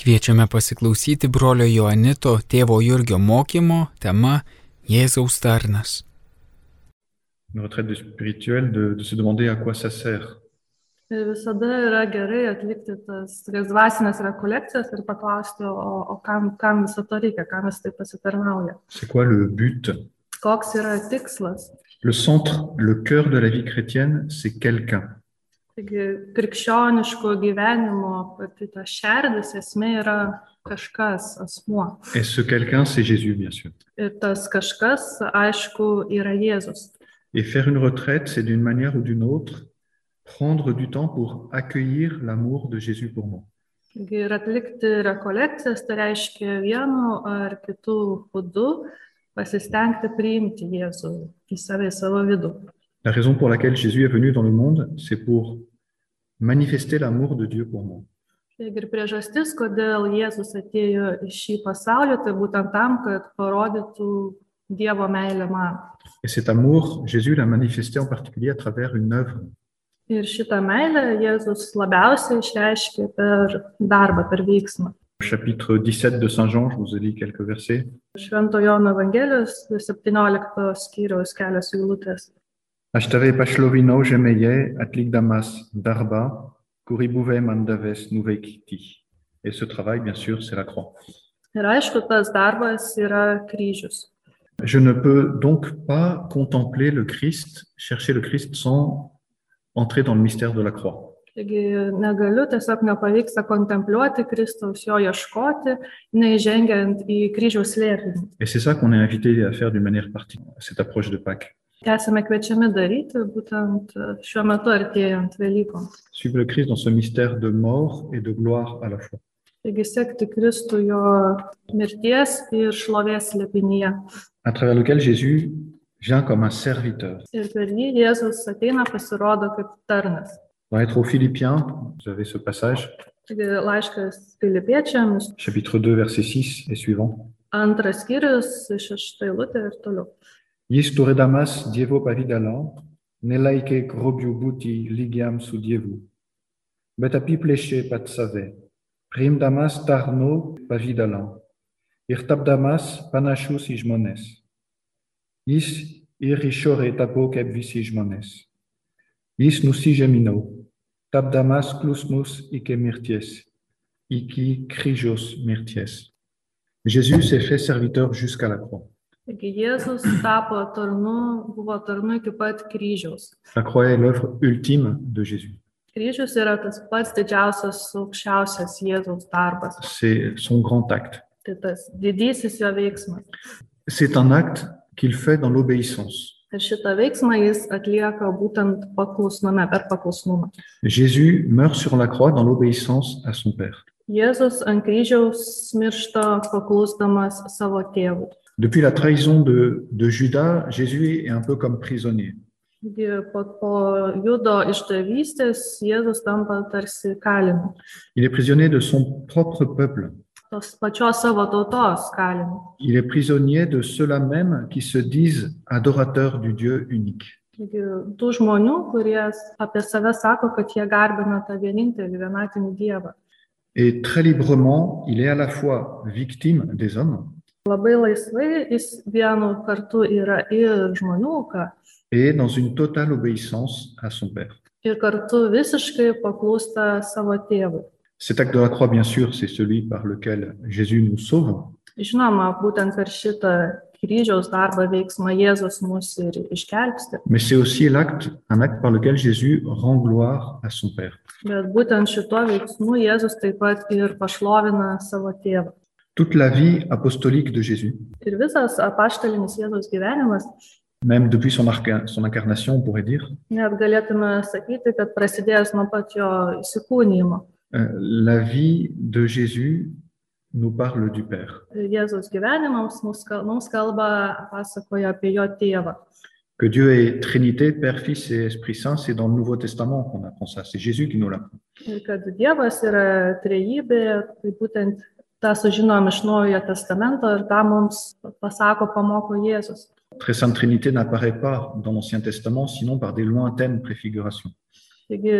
Kviečiame pasiklausyti brolio Joanito tėvo Jurgio mokymo tema Jėzaus tarnas. Une retraite spirituelle de, de se demander à quoi ça sert. Ir Tai visada yra gerai atlikti tas tokias dvasinės rekolekcijas ir paklausti, o, o kam, kam viso to reikia, kam vis tai pasitarnauja. C'est quoi le but Koks yra tikslas? Le centre, le cœur de la vie chrétienne, c'est quelqu'un. Taigi krikščioniško gyvenimo pati ta šerdis esmė yra kažkas, asmuo. Et ce quelqu'un, c'est Jésus, bien sûr. Ir tas kažkas, aišku, yra Jėzus. Et faire une retraite, c'est d'une manière ou d'une autre prendre du temps pour accueillir l'amour de Jésus pour moi. Taigi ir atlikti rekolekcijas, tai reiškia vienu ar kitu būdu pasistengti priimti Jėzų į save, į savo vidų. La raison pour laquelle Jésus est venu dans le monde, c'est pour manifester l'amour de Dieu pour moi. Taigi ir priežastis, kodėl Jėzus atėjo į šį pasaulį, tai būtent tam, kad parodytų Dievo meilę man. Et cet amour, Jésus l'a manifesté en particulier à travers une œuvre. Ir šitą meilę Jėzus labiausiai išreiškė per darbą, per veiksmą. Au chapitre 17 de Saint Jean, je vous ai dit quelques versets. Švento Jono Evangelijos 17 skyriaus kelios eilutės. Ashtave pachlovino gemeye atlik damas darba kuribouve mandaves nuvekiti. Et ce travail, bien sûr, c'est la croix. Ir aišku, tas darbas yra kryžius. Je ne peux donc pas contempler le Christ, chercher le Christ sans entrer dans le mystère de la croix. Taigi negaliu, tiesiog nepavyksta kontempliuoti Kristaus, jo ieškoti, neižengiant į kryžiaus slėpinį. Et c'est ça qu'on est invité à faire d'une manière particulière, cette approche de Pâques. Tai esame kviečiami daryti būtent e, šiuo metu artėjant Velykom. Suivre le Christ dans ce mystère de mort et de gloire à la fois. Taigi sekti Kristų jo mirties ir šlovės slėpinyje. à travers lequel Jésus vient comme un serviteur. Ir per jį Jėzus ateina pasirodo kaip tarnas. Dans l'être aux Philippiens, vous avez ce passage, Taigi laiškas filipiečiams, chapitre 2, verset 6 et suivant. antras skyrius, šešta eilutė ir toliau. Iisture damas dievo pavidala, nelaike grobiu buti ligiam su dievu. Betapi pleche patsave, prim damas tarno pavidala, irtab damas panachus ijmones. Is irishore tapo kebvis ijmones. Is nusi gemino, tab damas clusnus ike myrties, iki krygios myrties. Jésus s'est fait serviteur jusqu'à la croix. Taigi Jėzus tapo tarnu, buvo tarnu iki pat kryžiaus. La croix est l'œuvre ultime de Jésus. Kryžius yra tas pats didžiausias, aukščiausias Jėzaus darbas. C'est son grand acte. Tai tas didysis jo veiksmas. C'est un acte qu'il fait dans l'obéissance. Ir šitą veiksmą jis atlieka būtent paklusnume, per paklusnumą. Jésus meurt sur la croix dans l'obéissance à son Père. Jėzus ant kryžiaus miršta paklusdamas savo tėvui. Depuis la trahison de, de Judas, Jésus est un peu comme prisonnier. Taigi po, po judo išdavystės Jėzus tampa tarsi kaliniu, Il est prisonnier de son propre peuple. tos pačios savo tautos kaliniu. Il est prisonnier de ceux-là même qui se disent adorateurs du Dieu unique. Taigi tų žmonių, kurie apie save sako, kad jie garbina tą vienintelį vienatinį Dievą. Et très librement, il est à la fois victime des hommes Labai laisvai jis vienu kartu yra ir žmonių auka, et dans une totale obéissance à son Père. ir kartu visiškai paklūsta savo tėvui. Cet acte de la croix, bien sûr, c'est celui par lequel Jésus nous sauve, Žinoma, būtent per šitą kryžiaus darbą veiksmą Jėzus mus ir iškelbsti, mais c'est aussi l'acte, un acte par lequel Jésus rend gloire à son Père. bet būtent šituo veiksmu Jėzus taip pat ir pašlovina savo tėvą. Toute la vie apostolique de Jésus, Ir visas apaštalinis Jėzaus gyvenimas, même depuis son, arca- son incarnation, on pourrait dire, net galėtume sakyti, kad prasidėjęs nuo pat jo įsikūnymo. euh, la vie de Jésus nous parle du Père. Jėzaus gyvenimams mums kal- mums kalba, pasakoja apie jo tėvą. Que Dieu est Trinité, Père, Fils et Esprit Saint, c'est dans le Nouveau Testament qu'on apprend ça, c'est Jésus qui nous l'apprend. Ir kad Dievas yra trejybė, tai būtent tą sužinom iš Naujojo Testamento ir tą mums pasako, pamoko Jėzus. Très Sainte Trinité n'apparaît pas dans l'Ancien Testament, sinon par des lointaines préfigurations. Taigi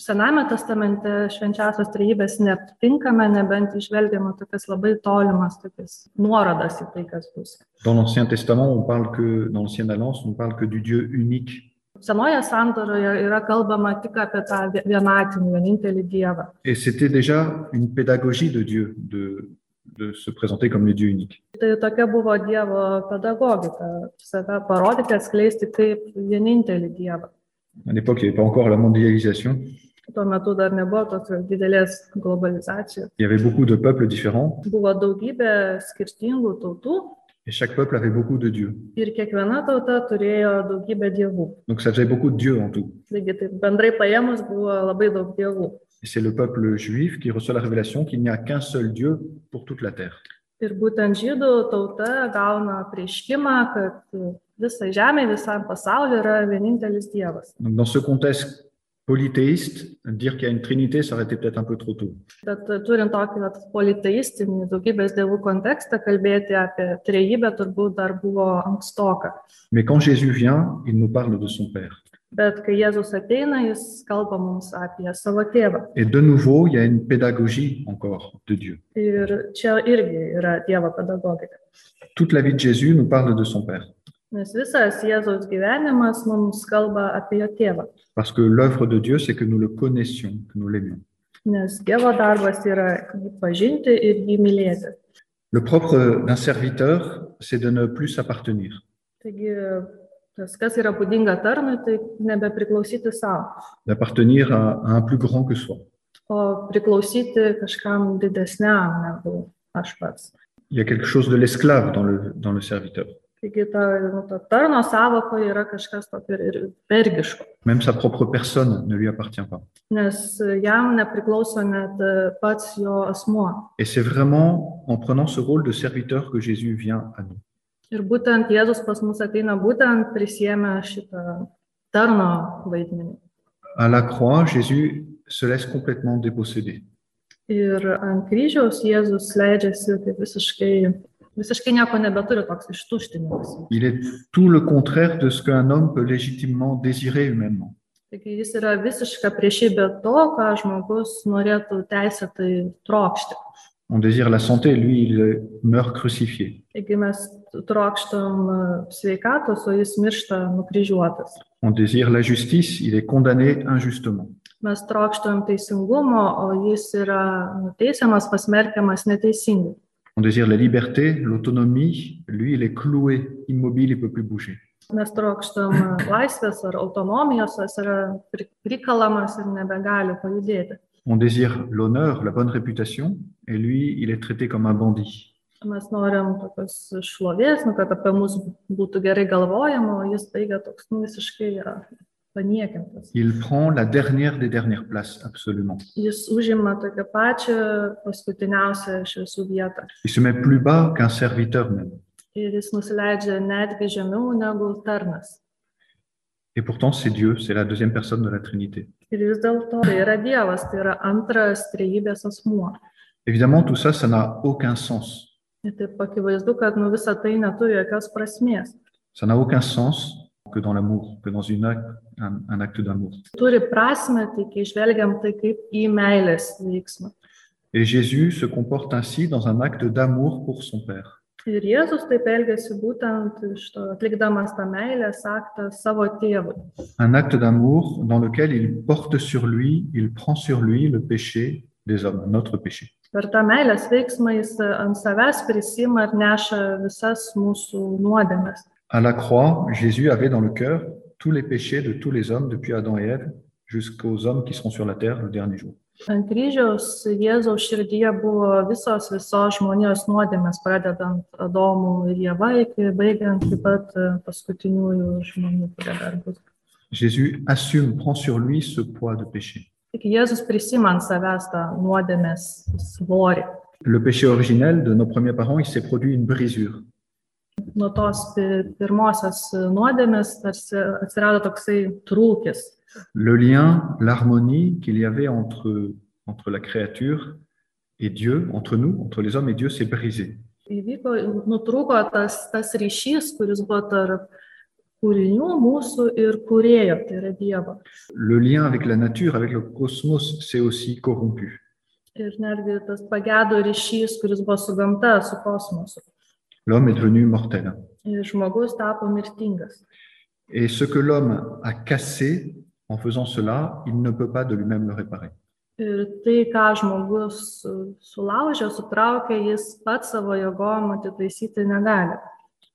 Sename testamente švenčiausios trejybės neaptinkame, nebent išvelgiama tokias labai tolimas tokias nuorodas į tai, kas bus. Dans l'Ancien Testament, on parle que, dans l'Ancienne Alliance, on parle que du Dieu unique. Senoje sandoroje yra kalbama tik apie tą vie- vienatinį, vienintelį Dievą. Et c'était déjà une pédagogie de Dieu de, de se présenter comme le Dieu unique. Tai tokia buvo Dievo pedagogika - save parodyti, atskleisti kaip vienintelį Dievą. À l'époque, il n'y avait pas encore la mondialisation. Tuo metu dar nebuvo tokios didelės globalizacijos. Il y avait beaucoup de peuples différents Buvo daugybė skirtingų tautų et chaque peuple avait beaucoup de dieux. ir kiekviena tauta turėjo daugybę dievų. Donc ça faisait beaucoup de dieux en tout. Taigi taip bendrai paėmus buvo labai daug dievų. Et c'est le peuple juif qui reçoit la révélation qu'il n'y a qu'un seul Dieu pour toute la terre. Ir būtent žydų tauta gauna prieškimą, kad visai žemė, visam pasauliu yra vienintelis dievas. Donc dans ce contexte polythéiste, dire qu'il y a une trinité, ça aurait été peut-être un peu trop tôt. Bet turint tokį vat, politeistinį daugybės dievų kontekstą, kalbėti apie trejybę turbūt dar buvo ankstoka. Mais quand Jésus vient, il nous parle de son Père. Bet kai Jėzus ateina, jis kalba mums apie savo tėvą. Et de nouveau, il y a une pédagogie encore de Dieu. Ir čia irgi yra Dievo pedagogika. Toute la vie de Jésus nous parle de son Père, Nes visas Jėzaus gyvenimas mums kalba apie jo tėvą. parce que l'œuvre de Dieu, c'est que nous le connaissions, que nous l'aimions. Nes Dievo darbas yra jį pažinti ir jį mylėti. Le propre d'un serviteur, c'est de ne plus s'appartenir. Taigi, tas, kas yra būdinga tarnui, tai nebepriklausyti savo, d'appartenir à, à un plus grand que soi. o priklausyti kažkam didesniam negu aš pats. Il y a quelque chose de l'esclave dans le, dans le serviteur. Taigi, ta, nu, ta tarno savoka yra kažkas tokio ir ir vergiško, Même sa propre personne ne lui appartient pas. nes jam nepriklauso net e, pats jo asmuo. Et c'est vraiment en prenant ce rôle de serviteur que Jésus vient à nous. Ir būtent Jėzus pas mus ateina būtent prisėmę šitą tarno vaidmenį. À la croix, Jésus se laisse complètement déposséder. Ir ant kryžiaus Jėzus leidžiasi tai visiškai, visiškai nieko nebeturi toks ištuštinimas. Il est tout le contraire de ce qu'un homme peut légitimement désirer humainement. Taigi jis yra visiška priešybė to, ką žmogus norėtų teisėtai trokšti. On désire la santé, lui, il meurt crucifié. Taigi mes trokštam e, sveikatos, o jis miršta nukryžiuotas. On désire la justice, il est condamné injustement. Mes trokštam teisingumo, o jis yra nuteisiamas, pasmerkiamas neteisingai. On désire la liberté, l'autonomie, lui, il est cloué, immobile, il ne peut plus bouger. Mes trokštam e, laisvės ar autonomijos, o jis yra pri- prikalamas ir nebegali pajudėti. On désire l'honneur, la bonne réputation, et lui, il est traité comme un bandit. Mes norim tokios šlovės, nu, kad apie mus būtų gerai galvojama, o jis taiga toks nu, visiškai yra paniekintas. Il prend la dernière des dernières places, absolument. jis užima tokią pačią paskutiniausią iš visų vietą. Il se met plus bas qu'un serviteur même. Ir jis nusileidžia netgi žemiau negu tarnas. Et pourtant, c'est Dieu, c'est la deuxième personne de la Trinité. Ir vis dėlto tai yra Dievas, tai yra antras trejybės asmuo. Évidemment, tout ça, ça n'a aucun sens. Ir taip akivaizdu, kad nu visą tai neturi jokios prasmės. Ça n'a aucun sens que dans l'amour, que dans une acte, un, un acte d'amour. Turi prasme, tik išvelgiam tai kaip į meilės veiksmą. Et Jésus se comporte ainsi dans un acte d'amour pour son Père. Ir Jėzus taip elgėsi būtent iš to, atlikdamas tą meilės aktą savo tėvui. Un acte d'amour dans lequel il porte sur lui, il prend sur lui le péché des hommes, notre péché. Per tą meilės veiksmą jis ant savęs prisima ir neša visas mūsų nuodėmes. À la croix, Jésus avait dans le cœur tous les péchés de tous les hommes depuis Adam et Ève jusqu'aux hommes qui seront sur la terre le dernier jour. Ant kryžiaus Jėzaus širdyje buvo visos visos žmonijos nuodėmes, pradedant Adomu ir Jėva, iki baigiant taip pat e, paskutiniųjų žmonių, kurie dar bus. Jésus assume, prend sur lui ce poids de péché. Tik Jėzus prisima ant savęs tą nuodėmės svorį. Le péché originel de nos premiers parents, il s'est produit une brisure. Nuo tos pi- pirmosios nuodėmės tarsi atsirado toksai trūkis. Le lien, l'harmonie qu'il y avait entre, entre la créature et Dieu, entre nous, entre les hommes et Dieu, s'est brisé. įvyko, nutrūko tas, tas ryšys, kuris buvo tarp kūrinių mūsų ir kūrėjo, tai yra Dievo. Le lien avec la nature, avec le cosmos, s'est aussi corrompu. Ir netgi tas pagėdo ryšys, kuris buvo su gamta, su kosmosu. L'homme est devenu mortel. Ir žmogus tapo mirtingas. Et ce que l'homme a cassé en faisant cela, il ne peut pas de lui-même le réparer. Ir tai, ką žmogus su- sulaužė, sutraukė, jis pats savo jėgom atitaisyti negali.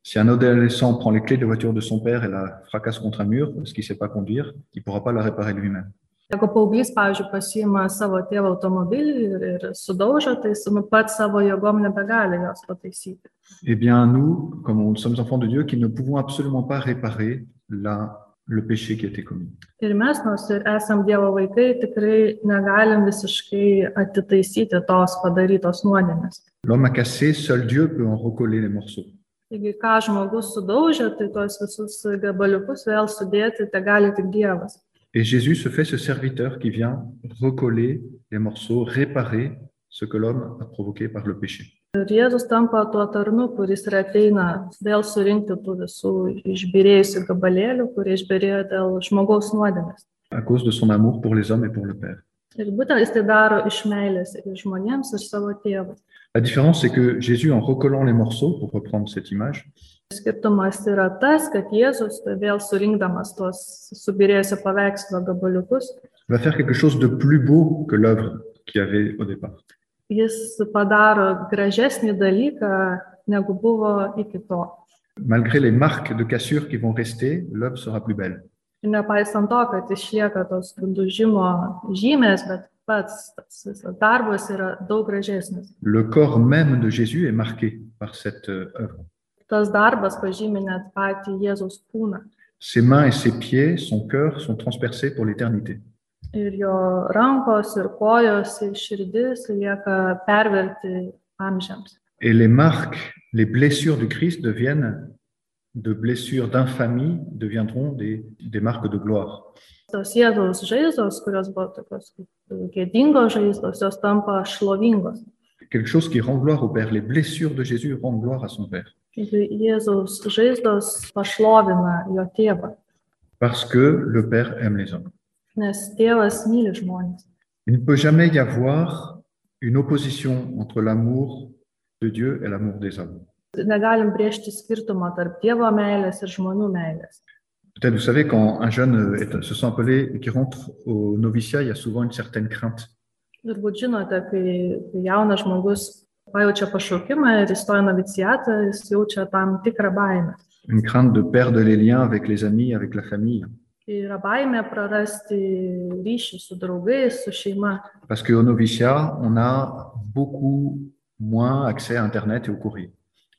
Si un adolescent prend les clés de la voiture de son père et la fracasse contre un mur parce qu'il ne sait pas conduire, il ne pourra pas la réparer lui-même. Jeigu paauglys, pavyzdžiui, pasiima savo tėvo automobilį ir, ir sudaužo, tai jis nu, pats savo jėgom nebegali jos pataisyti. Eh bien, nous, comme nous sommes enfants de Dieu, qui ne pouvons absolument pas réparer la- le péché qui a été commis. Ir mes, nors ir esam Dievo vaikai, tikrai negalim visiškai atitaisyti tos padarytos nuodėmės. L'homme a cassé, seul Dieu peut en recoller les morceaux. Taigi, ką žmogus sudaužė, tai tuos visus gabaliukus vėl sudėti, tai gali tik Dievas. Et Jésus se fait ce serviteur qui vient recoller les morceaux, réparer ce que l'homme a provoqué par le péché. Ir Jėzus tampa tuo tarnu, kuris ir ateina vėl surinkti tų visų išbirėjusių gabalėlių, kurie išbirėjo dėl žmogaus nuodėmės. à cause de son amour pour les hommes et pour le Père. Ir būtent jis tai daro iš meilės ir žmonėms, ir savo tėvui. La différence, c'est que Jésus, en recollant les morceaux, pour reprendre cette image, Skirtumas yra tas, kad Jėzus tai vėl surinkdamas tuos subirėjusio paveikslo gabaliukus, va faire quelque chose de plus beau que l'œuvre qu'il y avait au départ. jis padaro gražesnį dalyką, negu buvo iki to. Malgré les marques de cassure qui vont rester, l'œuvre sera plus belle. Ir nepaisant to, kad išlieka tos dužimo žymės, bet pats tas visas darbas yra daug gražesnis. Le corps même de Jésus est marqué par cette euh, œuvre. Tas darbas pažymė net patį Jėzaus kūną Ses mains et ses pieds, son cœur sont transpercés pour l'éternité. ir jo rankos ir kojos ir širdis lieka perverti amžiams. Et les marques, les blessures du Christ deviennent, de blessures d'infamie, deviendront des- des marques de gloire. Tos Jėzaus žaizdos, kurios buvo tokios kaip gėdingos žaizdos, jos tampa šlovingos. quelque chose qui rend gloire au Père. Les blessures de Jésus rendent gloire à son Père. Taigi Jėzaus žaizdos pašlovina jo tėvą, Parce que le Père aime les hommes. nes tėvas myli žmonės. Il ne peut jamais y avoir une opposition entre l'amour de Dieu et l'amour des hommes. negalim brėžti skirtumą tarp Dievo meilės ir žmonių meilės. Peut-être, vous savez, quand un jeune euh, est- se sent appelé et qui rentre au noviciat, il y a souvent une certaine crainte. Turbūt žinote, kai kai jaunas žmogus pajaučia pašaukimą ir įstoja į novicijatą, jis jaučia tam tikrą baimę. Une crainte de perdre les liens avec les amis, avec la famille. Tai yra baimė prarasti ryšį su draugais, su šeima. Parce qu'au noviciat, on a beaucoup moins accès à Internet et au courrier.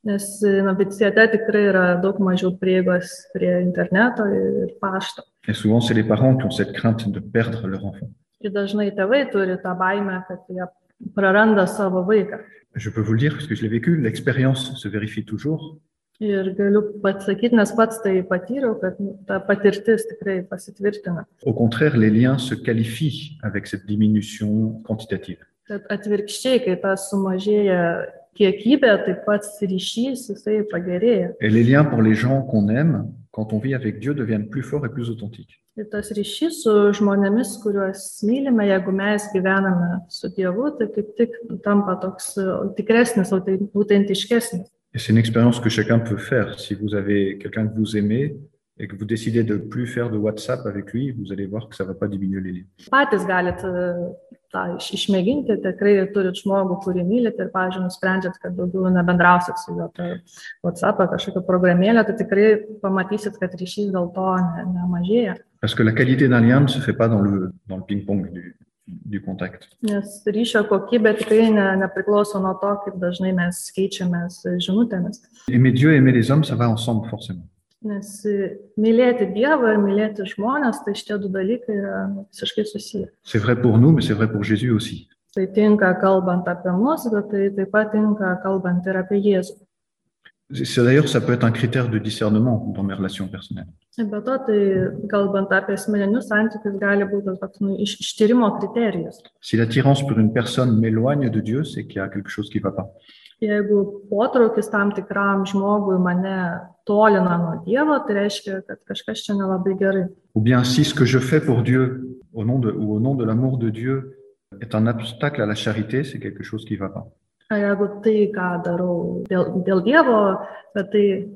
Nes novicijate tikrai yra daug mažiau prieigos prie interneto ir pašto. Et souvent, c'est les parents qui ont cette crainte de perdre leur enfant. Ir dažnai tėvai turi tą baimę, kad jie praranda savo vaiką. Je peux vous le dire parce que je l'ai vécu, l'expérience se vérifie toujours. Ir galiu pasakyti, nes pats tai patyriau, kad nu, ta patirtis tikrai pasitvirtina. Au contraire, les liens se qualifient avec cette diminution quantitative. Kad atvirkščiai, kai ta sumažėja kiekybė, tai pats ryšys jisai pagerėja. Et les liens pour les gens qu'on aime, quand on vit avec Dieu, deviennent plus forts et plus authentiques. Ir Tai tas ryšys su žmonėmis, kuriuos mylime, jeigu mes gyvename su Dievu, tai kaip tik tampa toks e, tikresnis, autent- autentiškesnis. Et c'est une expérience que chacun peut faire. Si vous avez quelqu'un que vous aimez et que vous décidez de plus faire de WhatsApp avec lui, vous allez voir que ça ne va pas diminuer les liens. Patys galite tą iš- išmėginti, tikrai turit žmogų, kurį mylite ir, pavyzdžiui, nusprendžiat, kad daugiau nebendrausit su juo per WhatsApp ar kažkokią programėlę, tai tikrai pamatysit, kad ryšys dėl to ne- nemažėja. Parce que la qualité d'un lien ne se fait pas dans le, dans le ping-pong du, du contact. Nes ryšio kokybė tikrai ne, nepriklauso nuo to, kaip dažnai mes keičiamės žinutėmis. Aimer Dieu et aimer les hommes, ça va ensemble forcément. Nes e, mylėti Dievą ir mylėti žmonės, tai šitie du dalykai yra nu, visiškai susiję. C'est vrai pour nous, mais c'est vrai pour Jésus aussi. Tai tinka kalbant apie mus, bet tai taip pat tinka kalbant ir apie Jėzų. C'est- c'est D'ailleurs, ça peut être un critère de discernement dans mes relations personnelles. Be to, tai kalbant apie asmeninius santykius, gali būti toks nu, iš, ištyrimo kriterijus. Si l'attirance pour une personne m'éloigne de Dieu, c'est qu'il y a quelque chose qui ne va pas. Jeigu potraukis tam tikram žmogui mane tolina nuo Dievo, tai reiškia, kad kažkas čia nelabai gerai. Ou bien si ce que je fais pour Dieu, au nom de, ou au nom de l'amour de Dieu, est un obstacle à la charité, c'est quelque chose qui ne va pas. A jeigu tai, ką darau dėl, dėl Dievo, bet tai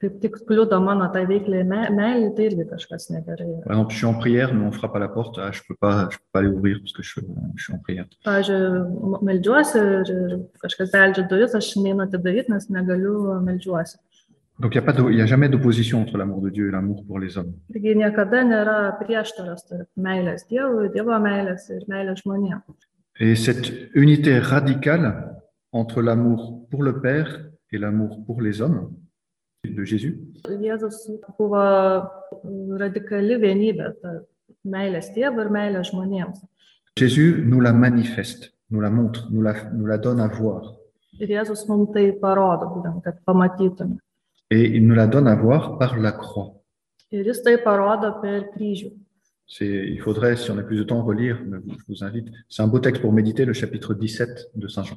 kaip tik kliudo mano tai veikliai me, meilį, tai irgi kažkas negerai. yra. Par exemple, je suis en prière, mais on frappe à la porte, ah, je ne peux, pas- je peux pas aller ouvrir parce que je, je suis en prière. Pavyzdžiui, melžiuosi ir, ir kažkas beeldžia duris, aš neinu atidaryti, nes negaliu melžiuosi. Donc il n'y a, pas de- il y a jamais d'opposition entre l'amour de Dieu et l'amour pour les hommes. Taigi niekada nėra prieštaros tarp meilės Dievui, Dievo meilės ir meilės žmonėms. Et cette unité radicale entre l'amour pour le Père et l'amour pour les hommes de Jésus, Jėzus buvo radikali vienybė tarp meilės Dievo ir meilės žmonėms. Jésus nous la manifeste, nous la montre, nous la, nous la donne à voir. Ir Jėzus mums tai parodo, būtent, kad pamatytume. Et il nous la donne à voir par la croix. Ir jis tai parodo per kryžių. C'est- Il faudrait, si on a plus de temps, relire, mais je vous invite. C'est un beau texte pour méditer, le chapitre 17 de Saint Jean.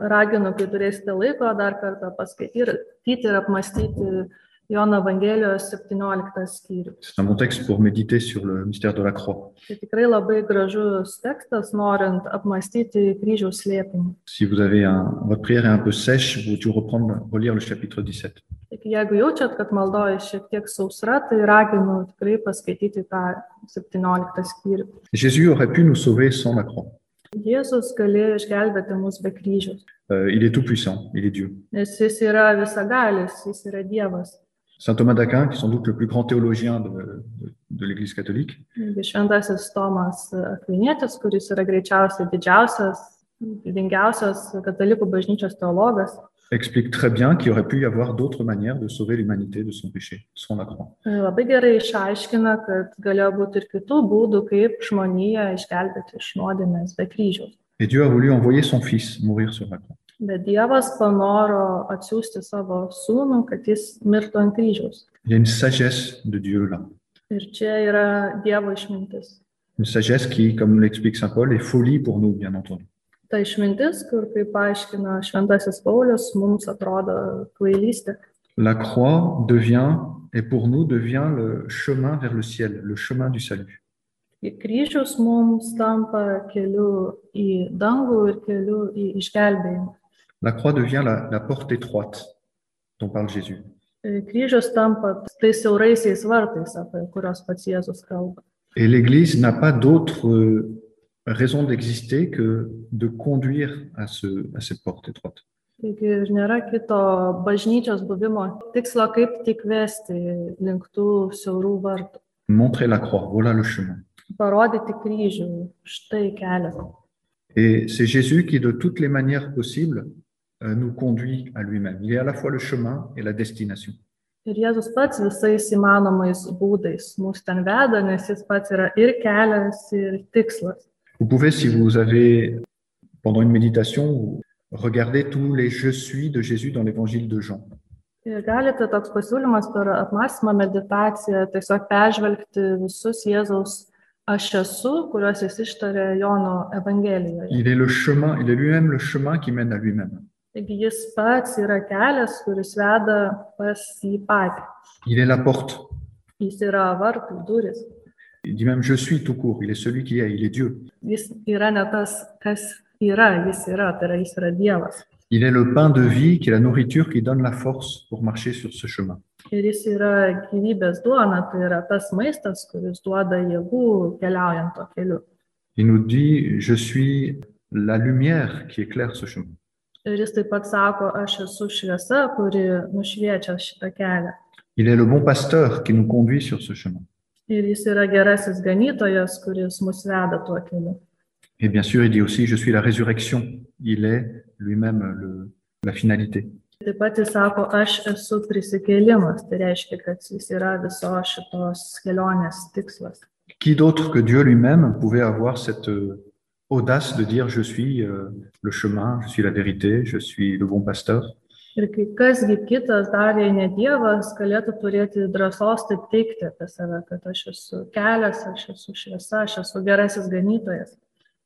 Raginu, kai turėsite laiko, dar kartą paskaityti ir apmastyti Jono Evangelijos 17 skyrių. C'est un bon texte pour méditer sur le mystère de la croix. Tai tikrai labai gražus tekstas, norint apmastyti kryžiaus slėpinį. Si vous avez un, votre prière est un peu sèche, vous devez reprendre, relire le chapitre 17. Taigi, jeigu jaučiat, kad maldoja šiek tiek sausra, tai raginu tikrai paskaityti tą 17 skyrių. Jésus aurait pu nous sauver sans la croix. Jėzus galėjo išgelbėti mus be kryžiaus, Euh, il est tout puissant, il est Dieu. nes jis yra visagalis, jis yra Dievas. Saint Thomas d'Aquin, qui est sans doute le plus grand théologien de, de- de l'Église catholique, Taigi, Šventasis Tomas Akvinėtis, kuris yra greičiausiai didžiausias, didingiausias katalikų bažnyčios teologas, explique très bien qu'il aurait pu y avoir d'autres manières de sauver l'humanité de son péché, sans la croix. labai gerai išaiškina, kad galėjo būti ir kitų būdų, kaip žmoniją išgelbėti iš nuodėmės be kryžiaus. Et Dieu a voulu envoyer son Fils mourir sur la croix. Bet Dievas panoro atsiųsti savo sūnų, kad jis mirtų ant kryžiaus. Il y a une sagesse de Dieu là. Ir čia yra Dievo išmintis. Une sagesse qui, comme l'explique Saint Paul, est folie pour nous, bien entendu. Ta išmintis, kur, kaip paaiškina Šventasis Paulius, mums atrodo kvailystė. La croix devient, et pour nous, devient le chemin vers le ciel, le chemin du salut. Ir kryžius mums tampa keliu į dangų ir keliu į išgelbėjimą. La croix devient la, la porte étroite dont parle Jésus. Ir Kryžius tampa tais siauraisiais vartais, apie kuriuos pats Jėzus kalba. Et l'Église n'a pas d'autre euh, raison d'exister que de conduire à, ce, à cette porte étroite. Taigi ir nėra kito bažnyčios buvimo tikslo, kaip tik vesti link tų siaurų vartų. Montrer la croix, voilà le chemin. parodyti kryžių, štai kelias. Et c'est Jésus qui, de toutes les manières possibles, euh, nous conduit à lui-même. Il est à la fois le chemin et la destination. Ir Jėzus pats visais įmanomais būdais mus ten veda, nes jis pats yra ir kelias, ir tikslas. Vous pouvez, si vous avez, pendant une méditation, regarder tous les je suis de Jésus dans l'évangile de Jean. Ir galite toks pasiūlymas per apmąstymą meditaciją tiesiog peržvelgti visus Jėzaus aš esu, kuriuos jis ištarė Jono Evangelijoje. Il est le chemin, il est lui-même le chemin qui mène à lui-même. Taigi jis pats yra kelias, kuris veda pas jį patį. Il est la porte. Jis yra vartų duris. Il dit même je suis tout court. Il est celui qui est, il est Dieu. Jis yra ne tas, kas yra, jis yra, tai yra jis yra Dievas. Il est le pain de vie qui est la nourriture qui donne la force pour marcher sur ce chemin. Ir jis yra gyvybės duona, tai yra tas maistas, kuris duoda jėgų keliaujant to keliu. Il nous dit je suis la lumière qui éclaire ce chemin. Ir jis taip pat sako, aš esu šviesa, kuri nušviečia šitą kelią. Il est le bon pasteur qui nous conduit sur ce chemin. Ir jis yra gerasis ganytojas, kuris mus veda tuo keliu. Et bien sûr, il dit aussi je suis la résurrection. Il est lui-même le- la finalité. Taip pat jis sako, aš esu prisikėlimas, tai reiškia, kad jis yra viso šitos kelionės tikslas. Qui d'autre que Dieu lui-même pouvait avoir cette euh, audace de dire je suis euh, le chemin, je suis la vérité, je suis le bon pasteur Ir kai kasgi kitas, dar jei ne Dievas, galėtų turėti drąsos taip teikti apie save, kad aš esu kelias, aš esu šviesa, aš esu gerasis ganytojas.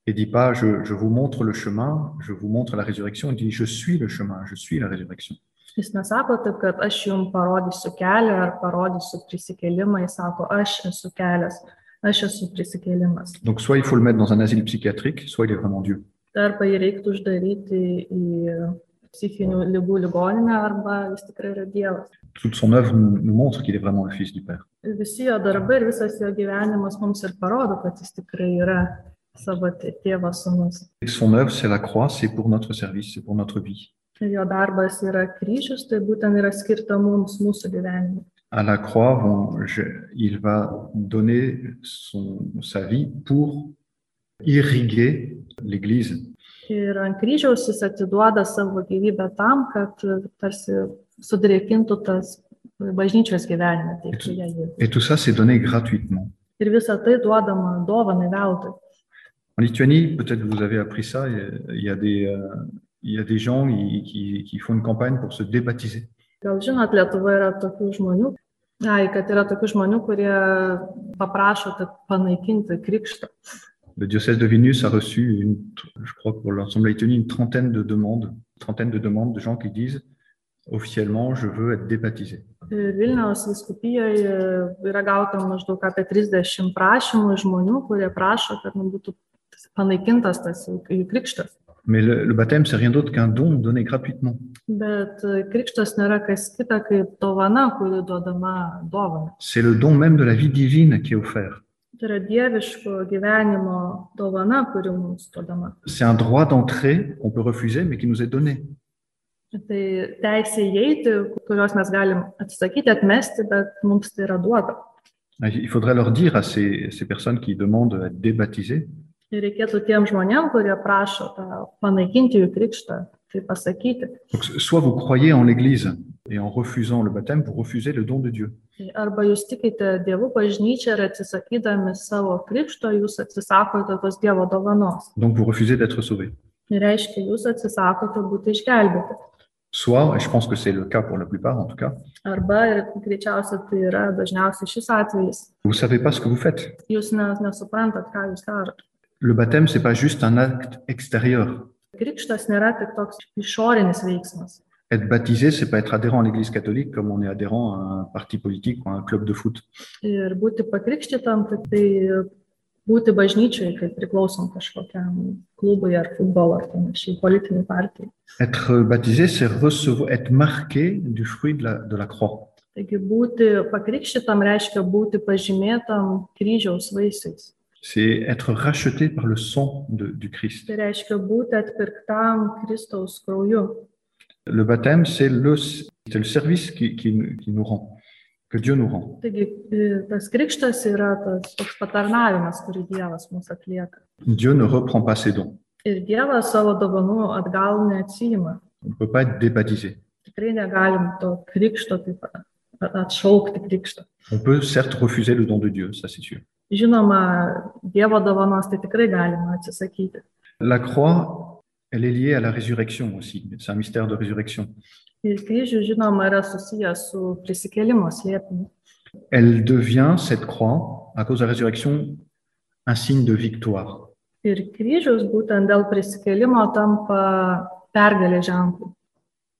Il dit pas je, je vous montre le chemin, je vous montre la résurrection. Il dit je suis le chemin, je suis la résurrection. Jis nesako taip, kad aš jums parodysiu kelią ar parodysiu prisikelimą, jis sako, aš esu kelias, aš esu prisikelimas. Donc soit il faut le mettre dans un asile psychiatrique, soit il est vraiment Dieu. Arba jį reiktų uždaryti į psichinių lygų ligoninę, arba jis tikrai yra Dievas. Toute son œuvre nous, nous montre qu'il est vraiment le Fils du Père. Ir Visi jo darbai ir visas jo gyvenimas mums ir parodo, kad jis tikrai yra savo tė- tėvo sunus. Et son œuvre, c'est la croix, c'est pour notre service, c'est pour notre vie. Ir Jo darbas yra kryžius, tai būtent yra skirta mums, mūsų gyvenimui. À la croix, on- je- il va donner son, sa vie pour irriguer l'Église. Ir ant kryžiaus jis atiduoda savo gyvybę tam, kad e, tarsi sudrėkintų tas bažnyčios gyvenimą. Taip, jie jį. Et tout ça, c'est donné gratuitement. Ir visa tai duodama dovanai veltui. En Lituanie, peut-être vous avez appris ça, il y a- il y a des, euh, il y a des gens qui, qui- qui font une campagne pour se débaptiser. Gal žinot, Lietuva yra tokių žmonių, ai, kad yra tokių žmonių, kurie paprašo kad panaikinti krikštą. Le diocèse de Vénus a reçu, une, je crois, pour l'ensemble de la Lituanie, une trentaine de demandes, trentaine de demandes de gens qui disent officiellement, je veux être débaptisé. Ir Vilniaus viskupijoje yra gauta maždaug apie 30 prašymų iš žmonių, kurie prašo, kad nu, būtų panaikintas tas jų jų krikštas. Mais le, le baptême, c'est rien d'autre qu'un don donné gratuitement. Bet e, krikštas nėra kas kita kaip dovana, kuri duodama dovana. C'est le don même de la vie divine qui est offert. Tai yra dieviško gyvenimo dovana, kuri mums duodama. C'est un droit d'entrée qu'on peut refuser, mais qui nous est donné. Tai teisė įeiti, kurios mes galim atsisakyti, atmesti, bet mums tai yra duota. Il faudrait leur dire à ces, ces personnes qui demandent à être débaptisées, Ir reikėtų tiem žmonėm, kurie prašo tą, panaikinti jų krikštą, tai pasakyti. donc, soit vous croyez en l'Église et en refusant le baptême, vous refusez le don de Dieu. Tai Arba jūs tikite Dievo bažnyčią ir atsisakydami savo krikšto, jūs atsisakote tos Dievo dovanos. Donc vous refusez d'être sauvé. Ir reiškia, jūs atsisakote būti išgelbėti. Soit, et je pense que c'est le cas pour la plupart en tout cas, Arba, ir greičiausiai tai yra dažniausiai šis atvejis, vous savez pas ce que vous faites. jūs ne- nesuprantat, ką jūs darote. Le baptême, c'est pas juste un acte extérieur. Krikštas nėra tik toks išorinis veiksmas. Être baptisé, c'est pas être adhérent à l'Église catholique comme on est adhérent à un parti politique ou à un club de foot. Ir būti pakrikštytam, tai, tai būti bažnyčiai, kai priklausom kažkokiam klubui ar futbolo ar panašiai, politiniai partijai. Être baptisé, c'est recevoir, être marqué du fruit de la, de la croix. Taigi būti pakrikštytam reiškia būti pažymėtam kryžiaus vaisiais. C'est être racheté par le sang de- du Christ. Tai reiškia būti atpirktam Kristaus krauju. Le baptême, c'est le, c'est le service qui, qui nous- qui nous rend, que Dieu nous rend. Taigi i, tas krikštas yra tas toks patarnavimas, kurį Dievas mums atlieka. Dieu ne reprend pas ses dons. Ir Dievas savo dovanų atgal neatsijima. On ne peut pas être débaptisé. Tikrai negalim to krikšto taip a- atšaukti krikšto. On peut certes refuser le don de Dieu, ça c'est sûr. Žinoma, Dievo dovanos tai tikrai galima atsisakyti. La croix, elle est liée à la résurrection aussi. C'est un mystère de résurrection. Ir kryžius, žinoma, yra susijęs su prisikelimo slėpiniu. Elle devient, cette croix, à cause de la résurrection, un signe de victoire. Ir kryžius būtent dėl prisikelimo tampa pergalė ženklų.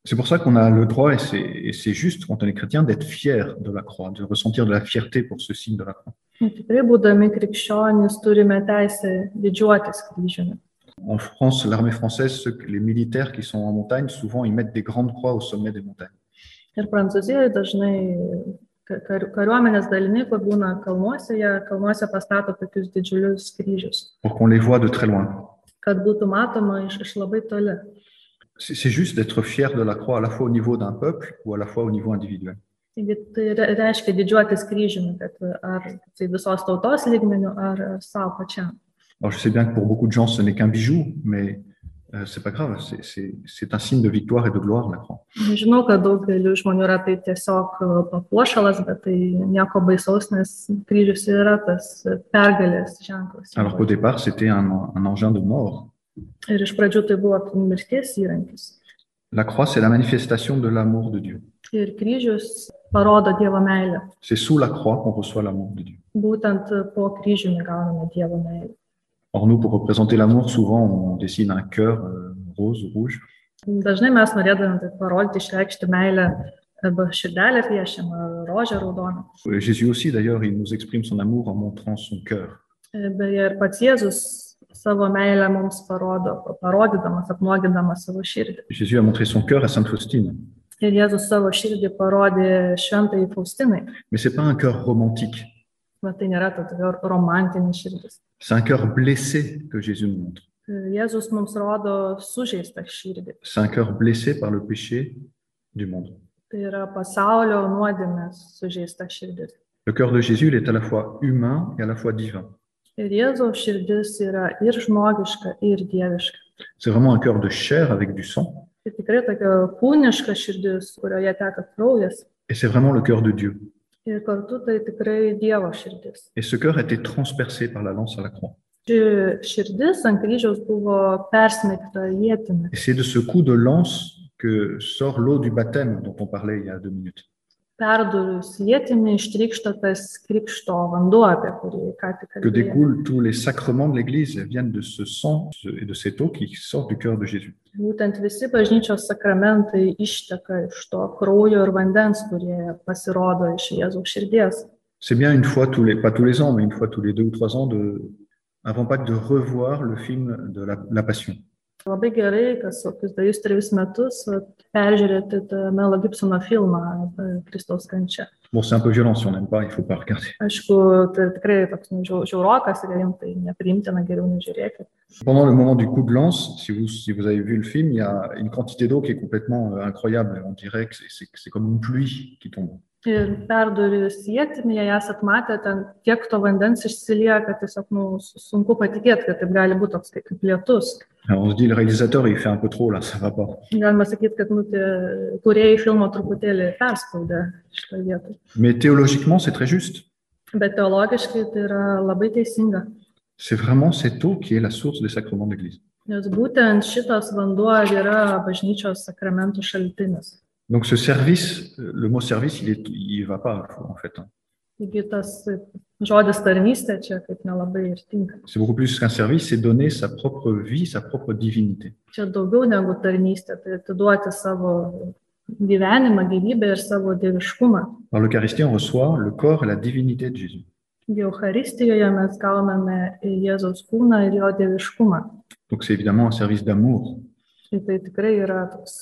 C'est pour ça qu'on a le droit, et c'est, et c'est juste quand on est chrétien, d'être fier de la croix, de ressentir de la fierté pour ce signe de la croix. Ir Tikrai būdami krikščionys turime teisę didžiuotis kryžiumi. En France, l'armée française, ceux que- les militaires qui sont en montagne, souvent ils mettent des grandes croix au sommet des montagnes. Ir Prancūzijoje dažnai ka- kar- kariuomenės daliniai, kur būna kalnuose, jie kalnuose pastato tokius didžiulius kryžius, pour qu'on les voit de très loin. kad būtų matoma iš, iš labai toli. C'est c'est juste d'être fier de la croix, à la fois au niveau d'un peuple ou à la fois au niveau individuel. Taigi tai re- reiškia didžiuotis kryžiumi, kad ar tai visos tautos lygmenių, ar, ar savo pačiam. Alors, je sais bien que pour beaucoup de gens, ce n'est qu'un bijou, mais euh, c'est pas grave. c'est- C'est c'est un signe de victoire et de gloire, la croix. Žinau, kad daugeliu žmonių yra tai tiesiog e, papuošalas, bet tai nieko baisaus, nes kryžius ir yra tas pergalės ženklas. Alors qu'au départ, c'était un, un engin de mort. Ir iš pradžių tai buvo mirties įrankis. La croix, c'est la manifestation de l'amour de Dieu. Ir kryžius parodo Dievo meilę. C'est sous la croix qu'on reçoit l'amour de Dieu. Būtent po kryžiumi gauname Dievo meilę. Or, nous, pour représenter l'amour, souvent, on dessine un cœur euh, rose ou rouge. Dažnai mes norėdami taip parodyti, išreikšti meilę arba širdelę piešimą, rožę raudoną. Euh, Jésus aussi, d'ailleurs, il nous exprime son amour en montrant son cœur. Ir Beje, ir pats Jėzus savo meilę mums parodo, parodydamas, apnuogindamas savo širdį. Jésus a montré son cœur à Sainte Faustine. Ir Jėzus savo širdį parodė šventai Faustinai. Mais c'est pas un cœur romantique. Bet tai nėra ta tokia romantinė širdis. C'est un cœur blessé que Jésus nous montre. Jėzus mums rodo sužeistą širdį. C'est un cœur blessé par le péché du monde. Tai yra pasaulio nuodėmės sužeista širdis. Le cœur de Jésus, il est à la fois humain et à la fois divin. Ir Jėzaus širdis yra ir žmogiška, ir dieviška. C'est vraiment un cœur de chair avec du sang. Tai tikrai tokia kūniška širdis, kurioje teka kraujas. Et c'est vraiment le cœur de Dieu. Ir kartu tai tikrai Dievo širdis. Et ce cœur a été transpercé par la lance à la croix. Ši širdis ant kryžiaus buvo persmeigta jėtimi. Et c'est de ce coup de lance que sort l'eau du baptême dont on parlait il y a deux minutes. Perdurus jėtimi ištrykšta tas krikšto vanduo, apie kurį ką tik Que kalbėjome. découlent tous les sacrements de l'Église Elles viennent de ce sang et de cette eau qui sortent du cœur de Jésus. Būtent visi bažnyčios sakramentai išteka iš to kraujo ir vandens, kurie pasirodo iš Jėzaus širdies. C'est bien une fois tous les, pas tous les ans, mais une fois tous les deux ou trois ans, de, avant Pâques, de revoir le film de la, la Passion. Labai gerai, kas kokius dviejus, trejus metus vat, peržiūrėti tą Melo Gibsono filmą e, Kristaus kančia. Bon, c'est un peu violent si on n'aime pas, il faut pas regarder. Aišku, tai tikrai toks nu, žiau- žiaurokas ir jiems tai nepriimtina, geriau nežiūrėti. Pendant le moment du coup de lance, si vous, si vous avez vu le film, il y a une quantité d'eau qui est complètement euh, incroyable. On dirait que c'est- c'est c'est comme une pluie qui tombe. Ir perdurius jėtimi, jei esat matę, ten tiek to vandens išsilieja, kad tiesiog nu, su- sunku patikėti, kad taip gali būti toks kaip kaip lietus. Alors, on se dit, le réalisateur, il fait un peu trop là, ça va pas. Galima sakyti, kad nu, tie kuriejai filmo truputėlį perspaudė šitą vietą. Mais théologiquement, c'est très juste. Bet teologiškai tai yra labai teisinga. C'est vraiment cette eau qui est la source des sacrements de l'Église. Nes būtent šitas vanduo ir yra bažnyčios sakramentų šaltinis. Donc ce service, euh, le mot service, il est, il va pas en fait. hein. Taigi tas žodis tarnystė čia kaip nelabai ir tinka. C'est beaucoup plus qu'un service, c'est donner sa propre vie, sa propre divinité. Čia daugiau negu tarnystė, tai atiduoti savo gyvenimą, gyvybę ir savo dieviškumą. Par l'Eucharistie, on reçoit le corps et la divinité de Jésus. Eucharistijoje mes gauname Jėzaus kūną ir jo dieviškumą. Donc c'est évidemment un service d'amour. Tai, tai tikrai yra toks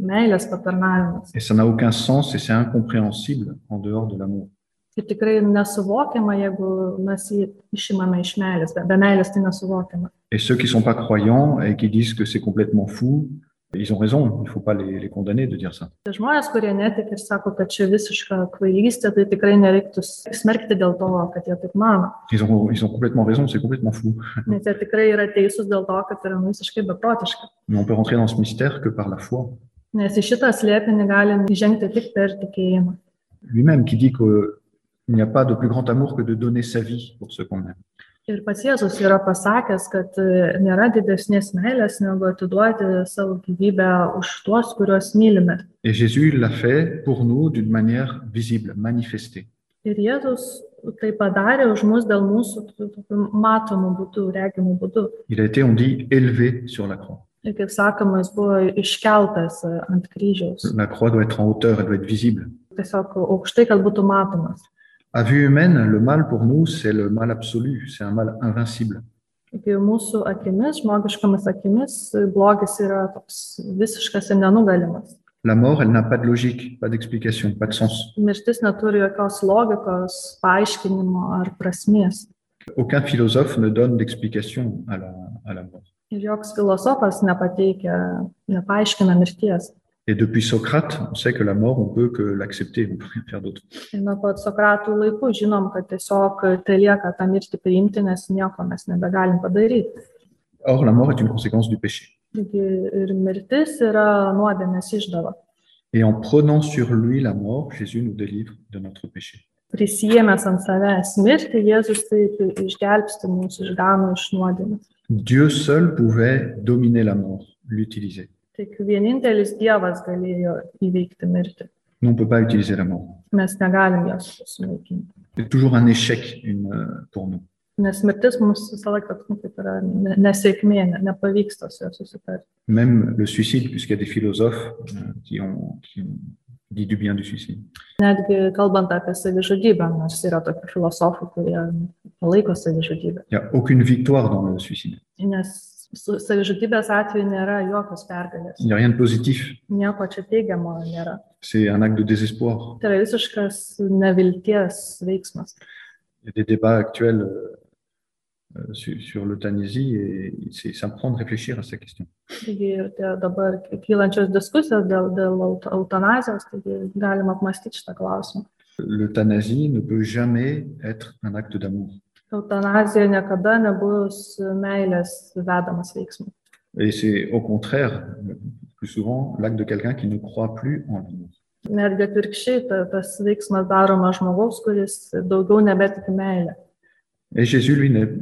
meilės patarnavimas. Et ça n'a aucun sens et c'est incompréhensible en dehors de l'amour. Ir Tai tikrai nesuvokiama, jeigu mes jį išimame iš meilės, be, be meilės tai nesuvokiama. Et ceux qui sont pas croyants et qui disent que c'est complètement fou, ils ont raison. Il faut pas les, les condamner de dire ça. Tai Žmonės, kurie netik ir sako, kad čia visiška kvailystė, tai tikrai nereiktų smerkti dėl to, kad jie taip mano. Ils ont, ils ont complètement raison, c'est complètement fou. Nes jie tikrai yra teisūs dėl to, kad yra nu visiškai beprotiška. Mais on peut rentrer dans ce mystère que par la foi. Nes į šitą slėpinį galim žengti tik per tikėjimą. Lui-même qui dit qu'il n'y a pas de plus grand amour que de donner sa vie pour ceux qu'on aime. Ir pats Jėzus yra pasakęs, kad e, nėra didesnės meilės, negu atiduoti savo gyvybę už tuos, kuriuos mylime. Et Jésus l'a fait pour nous d'une manière visible, manifestée. Ir Jėzus tai padarė už mus dėl mūsų tų- tokiu matomų būdų, regimų būdų. Il a été, on dit, élevé sur la croix. Ir kaip sakoma, jis buvo iškeltas e, ant kryžiaus. La croix doit être en hauteur, elle doit être visible. tiesiog aukštai, kad būtų matomas. À vue humaine, le mal pour nous, c'est le mal absolu, c'est un mal invincible. Taigi mūsų akimis, žmogiškomis akimis, blogis yra toks visiškas ir nenugalimas. La mort, elle n'a pas de logique, pas d'explication, pas de sens. Mirtis neturi jokios logikos, paaiškinimo ar prasmės. Aucun philosophe ne donne d'explication à la, à la mort. Ir joks filosofas nepateikia, nepaaiškina mirties. Et depuis Socrate, on sait que la mort, on peut que l'accepter, on peut rien faire d'autre. Ir nuo pat Sokratų laikų žinom, kad tiesiog tai lieka tą mirtį priimti, nes nieko mes nebegalim padaryti. Or, la mort est une conséquence du péché. Taigi ir mirtis yra nuodėmės išdava. Et en prenant sur lui la mort, Jésus nous délivre de notre péché. prisijėmęs ant savęs mirti, Jėzus taip išgelbsti mūsų išgano iš nuodėmės. Dieu seul pouvait dominer la mort, l'utiliser. Tik vienintelis Dievas galėjo įveikti mirtį. Mais on ne peut pas utiliser la mort. Mes negalim jos sunaikinti. C'est toujours un échec une, euh, pour nous. Nes mirtis mums visą laiką nu, kaip yra ne- nesėkmė, ne- nepavyksta su ja susitarti. Même le suicide, puisqu'il y a des philosophes euh, qui, ont, qui ont dit du bien du suicide. Netgi kalbant apie savižudybę, nors yra tokių filosofų, kurie palaiko savižudybę. Il n'y a aucune victoire dans le suicide. Nes su savižudybės atveju nėra jokios pergalės. Il n'y a rien de positif. Nieko čia teigiamo nėra. C'est un acte de désespoir. Tai yra visiškas nevilties veiksmas. Il y a des débats actuels euh, euh, su- sur l'euthanasie et c'est- ça me prend de réfléchir à cette question. Taigi ir tie dabar kylančios diskusijos dėl, dėl eut- eutanazijos, taigi galima apmastyti šitą klausimą. L'euthanasie ne peut jamais être un acte d'amour. Eutanazija niekada nebus meilės vedamas veiksmas. Et c'est au contraire, le plus souvent, l'acte de quelqu'un qui ne croit plus en l'amour. Netgi atvirkščiai ta, tas veiksmas daromas žmogaus, kuris daugiau nebetiki meilę. Et Jésus, lui, n'est-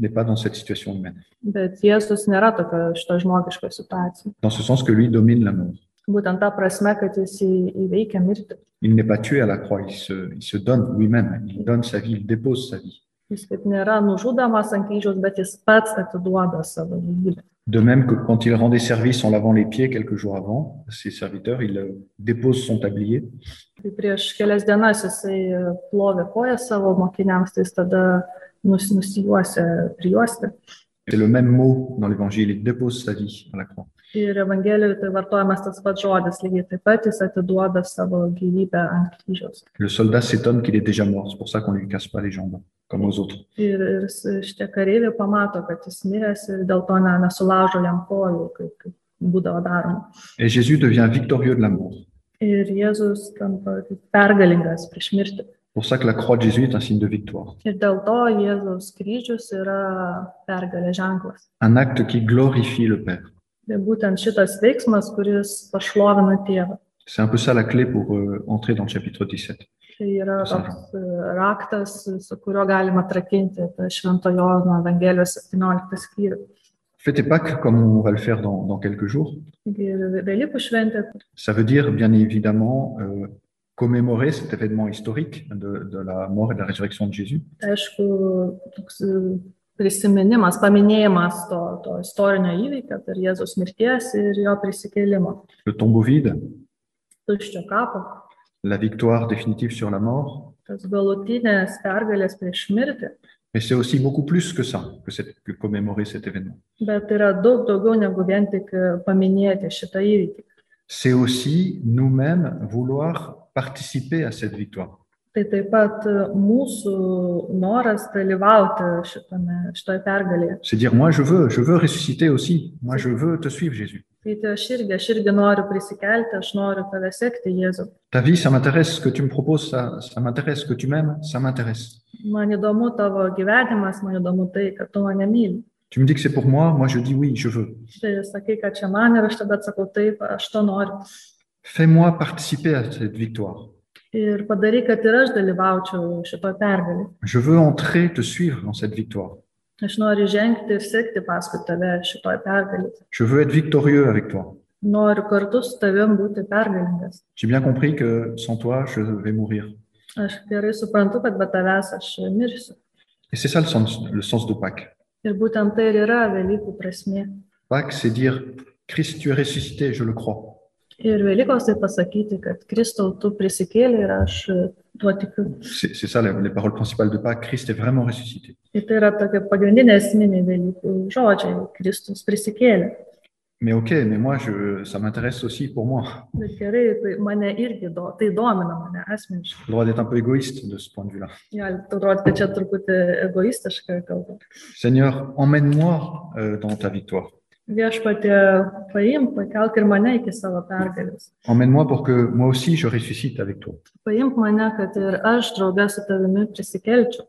n'est pas dans cette situation humaine, Bet Jėzus nėra tokio šito žmogiško situacijos. dans ce sens que lui domine l'amour. Būtent ta prasme, kad jis į- įveikia mirtį. Il n'est pas tué à la croix, il se, il se donne lui-même, il donne sa vie, il dépose sa vie. Jis kaip nėra nužudomas ant kryžiaus, bet jis pats atiduoda savo gyvybę. De même que quand il rendait service en lavant les pieds quelques jours avant, ses serviteurs, il euh, dépose son tablier Tai prieš kelias dienas jisai e, plovė koją savo mokiniams, tai jis tada nus, nusijuosi prijuosti. C'est le même mot dans l'évangile, il dépose sa vie à la croix. Ir Evangelijoje tai vartojamas tas pats žodis, lygiai taip pat jis atiduoda savo gyvybę ant kryžiaus. Le soldat s'étonne qu'il est déjà mort, c'est pour ça qu'on lui casse pas les jambes, comme aux autres. Ir, ir s- šitie kareiviai pamato, kad jis miręs ir dėl to ne, nesulaužo jam kojų, kaip, kaip būdavo daroma. Et Jésus devient victorieux de la mort. Ir Jėzus tampa kaip pergalingas prieš mirtį. C'est pour ça que la croix de Jésus est un signe de victoire, Ir dėl to Jėzaus kryžius yra pergalė ženklas. un acte qui glorifie le Père. Tai būtent šitas veiksmas, kuris pašlovina tėvą. C'est un peu ça la clé pour euh, entrer dans le chapitre 17. Tai yra toks e, raktas, su kuriuo galima atrakinti tą Šventojo Jono Evangelijos 17 skyrių. Fêtez Pâques comme on va le faire dans, dans quelques jours. Taigi ir Velykų šventė Ça veut dire, bien évidemment, euh, commémorer cet événement historique de, de la mort et de la résurrection de Jésus, Tai aišku, toks e, prisiminimas, paminėjimas to, to istorinio įvykio, tai ir Jėzus mirties ir jo prisikėlimo, le tombeau vide, tuščio kapo, la victoire définitive sur la mort. tas galutinės pergalės prieš mirtį, Mais c'est aussi beaucoup plus que ça, que, cette- que commémorer cet événement. bet yra daug daugiau negu vien tik e, paminėti šitą įvykį. C'est aussi nous-mêmes vouloir participer à cette victoire. Tai taip pat e, mūsų noras dalyvauti šitame, šitoje pergalėje. C'est dire, moi je veux, je veux ressusciter aussi, moi je veux te suivre Jésus. Tai tai aš irgi, aš irgi noriu prisikelti, aš noriu tave sekti, Jėzau. Ta vie, ça m'intéresse, ce que tu me proposes, ça, ça m'intéresse, ce que tu m'aimes, ça m'intéresse. Man įdomu tavo gyvenimas, man įdomu tai, kad tu mane myli. Tu me dis que c'est pour moi, moi je dis oui, je veux. Tai sakai, kad čia man ir aš tada atsakau, taip, aš to noriu. Fais-moi participer à cette victoire. Ir padaryk, kad ir aš dalyvaučiau šito pergalį. Je veux entrer, te suivre dans cette victoire. Aš noriu žengti ir sekti paskui tave šitoj pergalį. Je veux être victorieux avec toi. Noriu kartu su tavim būti pergalingas. J'ai bien compris que sans toi, je vais mourir. Aš gerai suprantu, kad be tavęs aš mirsiu. Et c'est ça le sens, le sens de Pâques. Ir būtent tai ir yra Velykų prasme. Pâques, c'est dire, Christ, tu es ressuscité, je le crois. Ir Velykos tai pasakyti, kad Kristau, tu prisikėlė ir aš e, tuo tikiu. C'est c'est ça les, les paroles principales de Pâques. Christ est vraiment ressuscité. Ir tai yra tokie pagrindiniai esminiai Velykų žodžiai. Kristus prisikėlė. Mais ok, mais moi, je, ça m'intéresse aussi pour moi. Bet gerai, tai mane irgi do, tai domina mane asmeniškai. J'ai le droit d'être un peu égoïste de ce point de vue-là. Gali atrodyti, kad čia truputį egoistiška kalba. Seigneur, emmène-moi euh, dans ta victoire. Viešpatė, paimk, pakelk ir mane iki savo pergalės. Emmène-moi pour que moi aussi, je ressuscite avec toi. Paimk mane, kad ir aš draugę su tavimi prisikelčiau.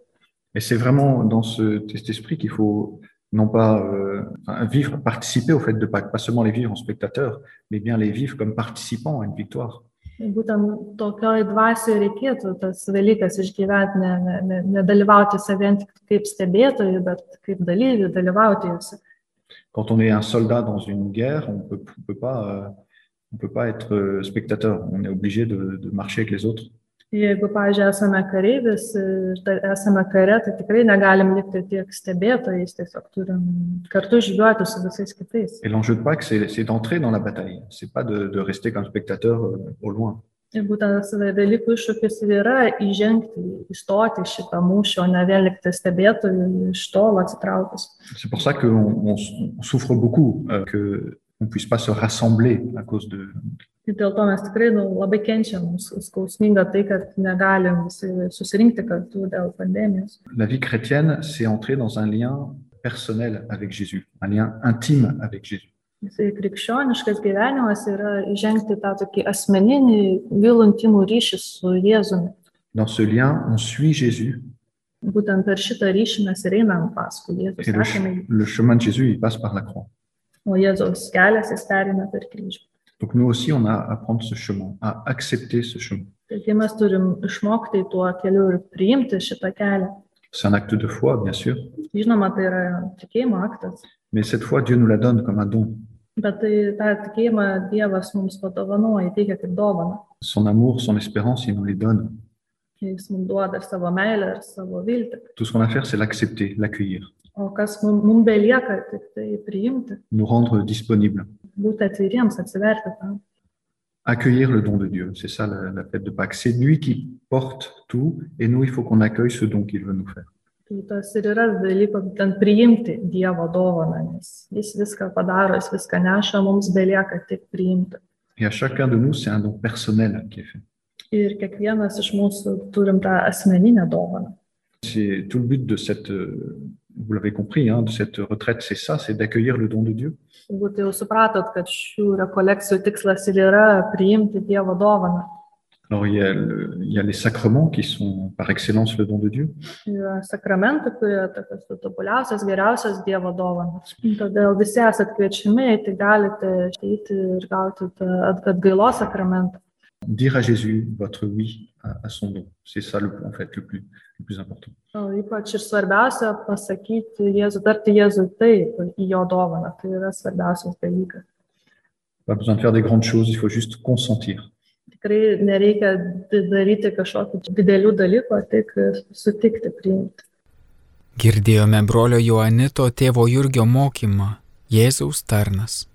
Et c'est vraiment dans ce, cet esprit qu'il faut non pas euh, enfin, vivre, participer au fait de Pâques, pas seulement les vivre en spectateur, mais bien les vivre comme participants à une victoire. Ir Būtent tokioj dvasioje reikėtų tas dalykas išgyventi, ne, ne, ne, nedalyvauti savien tik kaip stebėtojai, bet kaip dalyviai dalyvauti jose. Quand on est un soldat dans une guerre, on peut, on peut pas, euh, on peut pas être euh, spectateur. On est obligé de, de marcher avec les autres. Jeigu, pavyzdžiui, esame kareivis ir ta- esame kare, tai tikrai negalim likti tiek stebėtojais, tiesiog turim kartu žygiuoti su visais kitais. Et l'enjeu de Pâques, c'est c'est d'entrer dans la bataille. C'est pas de, de rester comme spectateur euh, au loin. Ir būtent tas dalykų iššūkis ir yra įžengti, įstoti į šitą mūšį, o ne vien likti stebėtojų iš tolo atsitraukus. C'est pour ça qu'on on s- on souffre beaucoup euh, que on puisse pas se rassembler à cause de, Ir Tai dėl to mes tikrai nu, labai kenčiam, mums skausminga tai, kad negalim visi susirinkti kartu dėl pandemijos. La vie chrétienne, c'est entrer dans un lien personnel avec Jésus, un lien intime avec Jésus. Tai krikščioniškas gyvenimas yra įžengti tą tokį asmeninį, gilų intimų ryšį su Jėzumi. Dans ce lien, on suit Jésus Būtent per šitą ryšį mes ir einam paskui Jėzų. et le, ch- Sekame jį. le chemin de Jésus, il passe par la croix. O Jėzaus kelias jis perina per kryžių. Donc nous aussi, on a à prendre ce chemin, à accepter ce chemin. Taigi mes turim išmokti tuo keliu ir priimti šitą kelią. C'est un acte de foi, bien sûr, Žinoma, tai yra tikėjimo aktas, mais cette foi, Dieu nous la donne comme un don. bet tai tą tikėjimą Dievas mums padovanoja, teikia kaip dovaną. Son amour, son espérance, il nous les donne. Jis mums duoda ir savo meilę, ir savo viltį. Tout ce qu'on a à faire, c'est l'accepter, l'accueillir, O kas mums mum belieka, tik tai priimti, nous rendre disponibles. būti atviriems, atsiverti tam. Accueillir le don de Dieu, c'est ça la, la fête de Pâques. C'est lui qui porte tout et nous, il faut qu'on accueille ce don qu'il veut nous faire. Tai tas ir yra dalykas, būtent priimti Dievo dovaną, nes jis viską padaro, jis viską neša, mums belieka tik priimti. Et à chacun de nous, c'est un don personnel qui est fait. Ir kiekvienas iš mūsų turim tą asmeninę dovaną. C'est tout le but de cette, euh, vous l'avez compris, hein, de cette retraite, c'est ça, c'est d'accueillir le don de Dieu. Turbūt jau supratot, kad šių rekolekcijų tikslas ir yra priimti Dievo dovaną. Alors il y, a le- il y a les sacrements qui sont par excellence le don de Dieu. Yra sakramentai, kurie yra tokios tobuliausios, geriausios Dievo dovanos. Todėl visi esat kviečiami, tai galite ateiti ir gauti tą at- atgailos sakramentą. Dire à Jésus votre oui à, à son don, c'est ça le, en fait le plus, le plus important. O ypač ir svarbiausia pasakyti Jėzų, tarti Jėzų taip į jo dovaną. Tai yra svarbiausias dalykas. Pas besoin de faire des grandes choses, il faut juste consentir. Tikrai nereikia di- daryti kažkokių didelių dalykų, tik sutikti priimti. Girdėjome brolio Joanito tėvo Jurgio mokymą Jėzaus tarnas.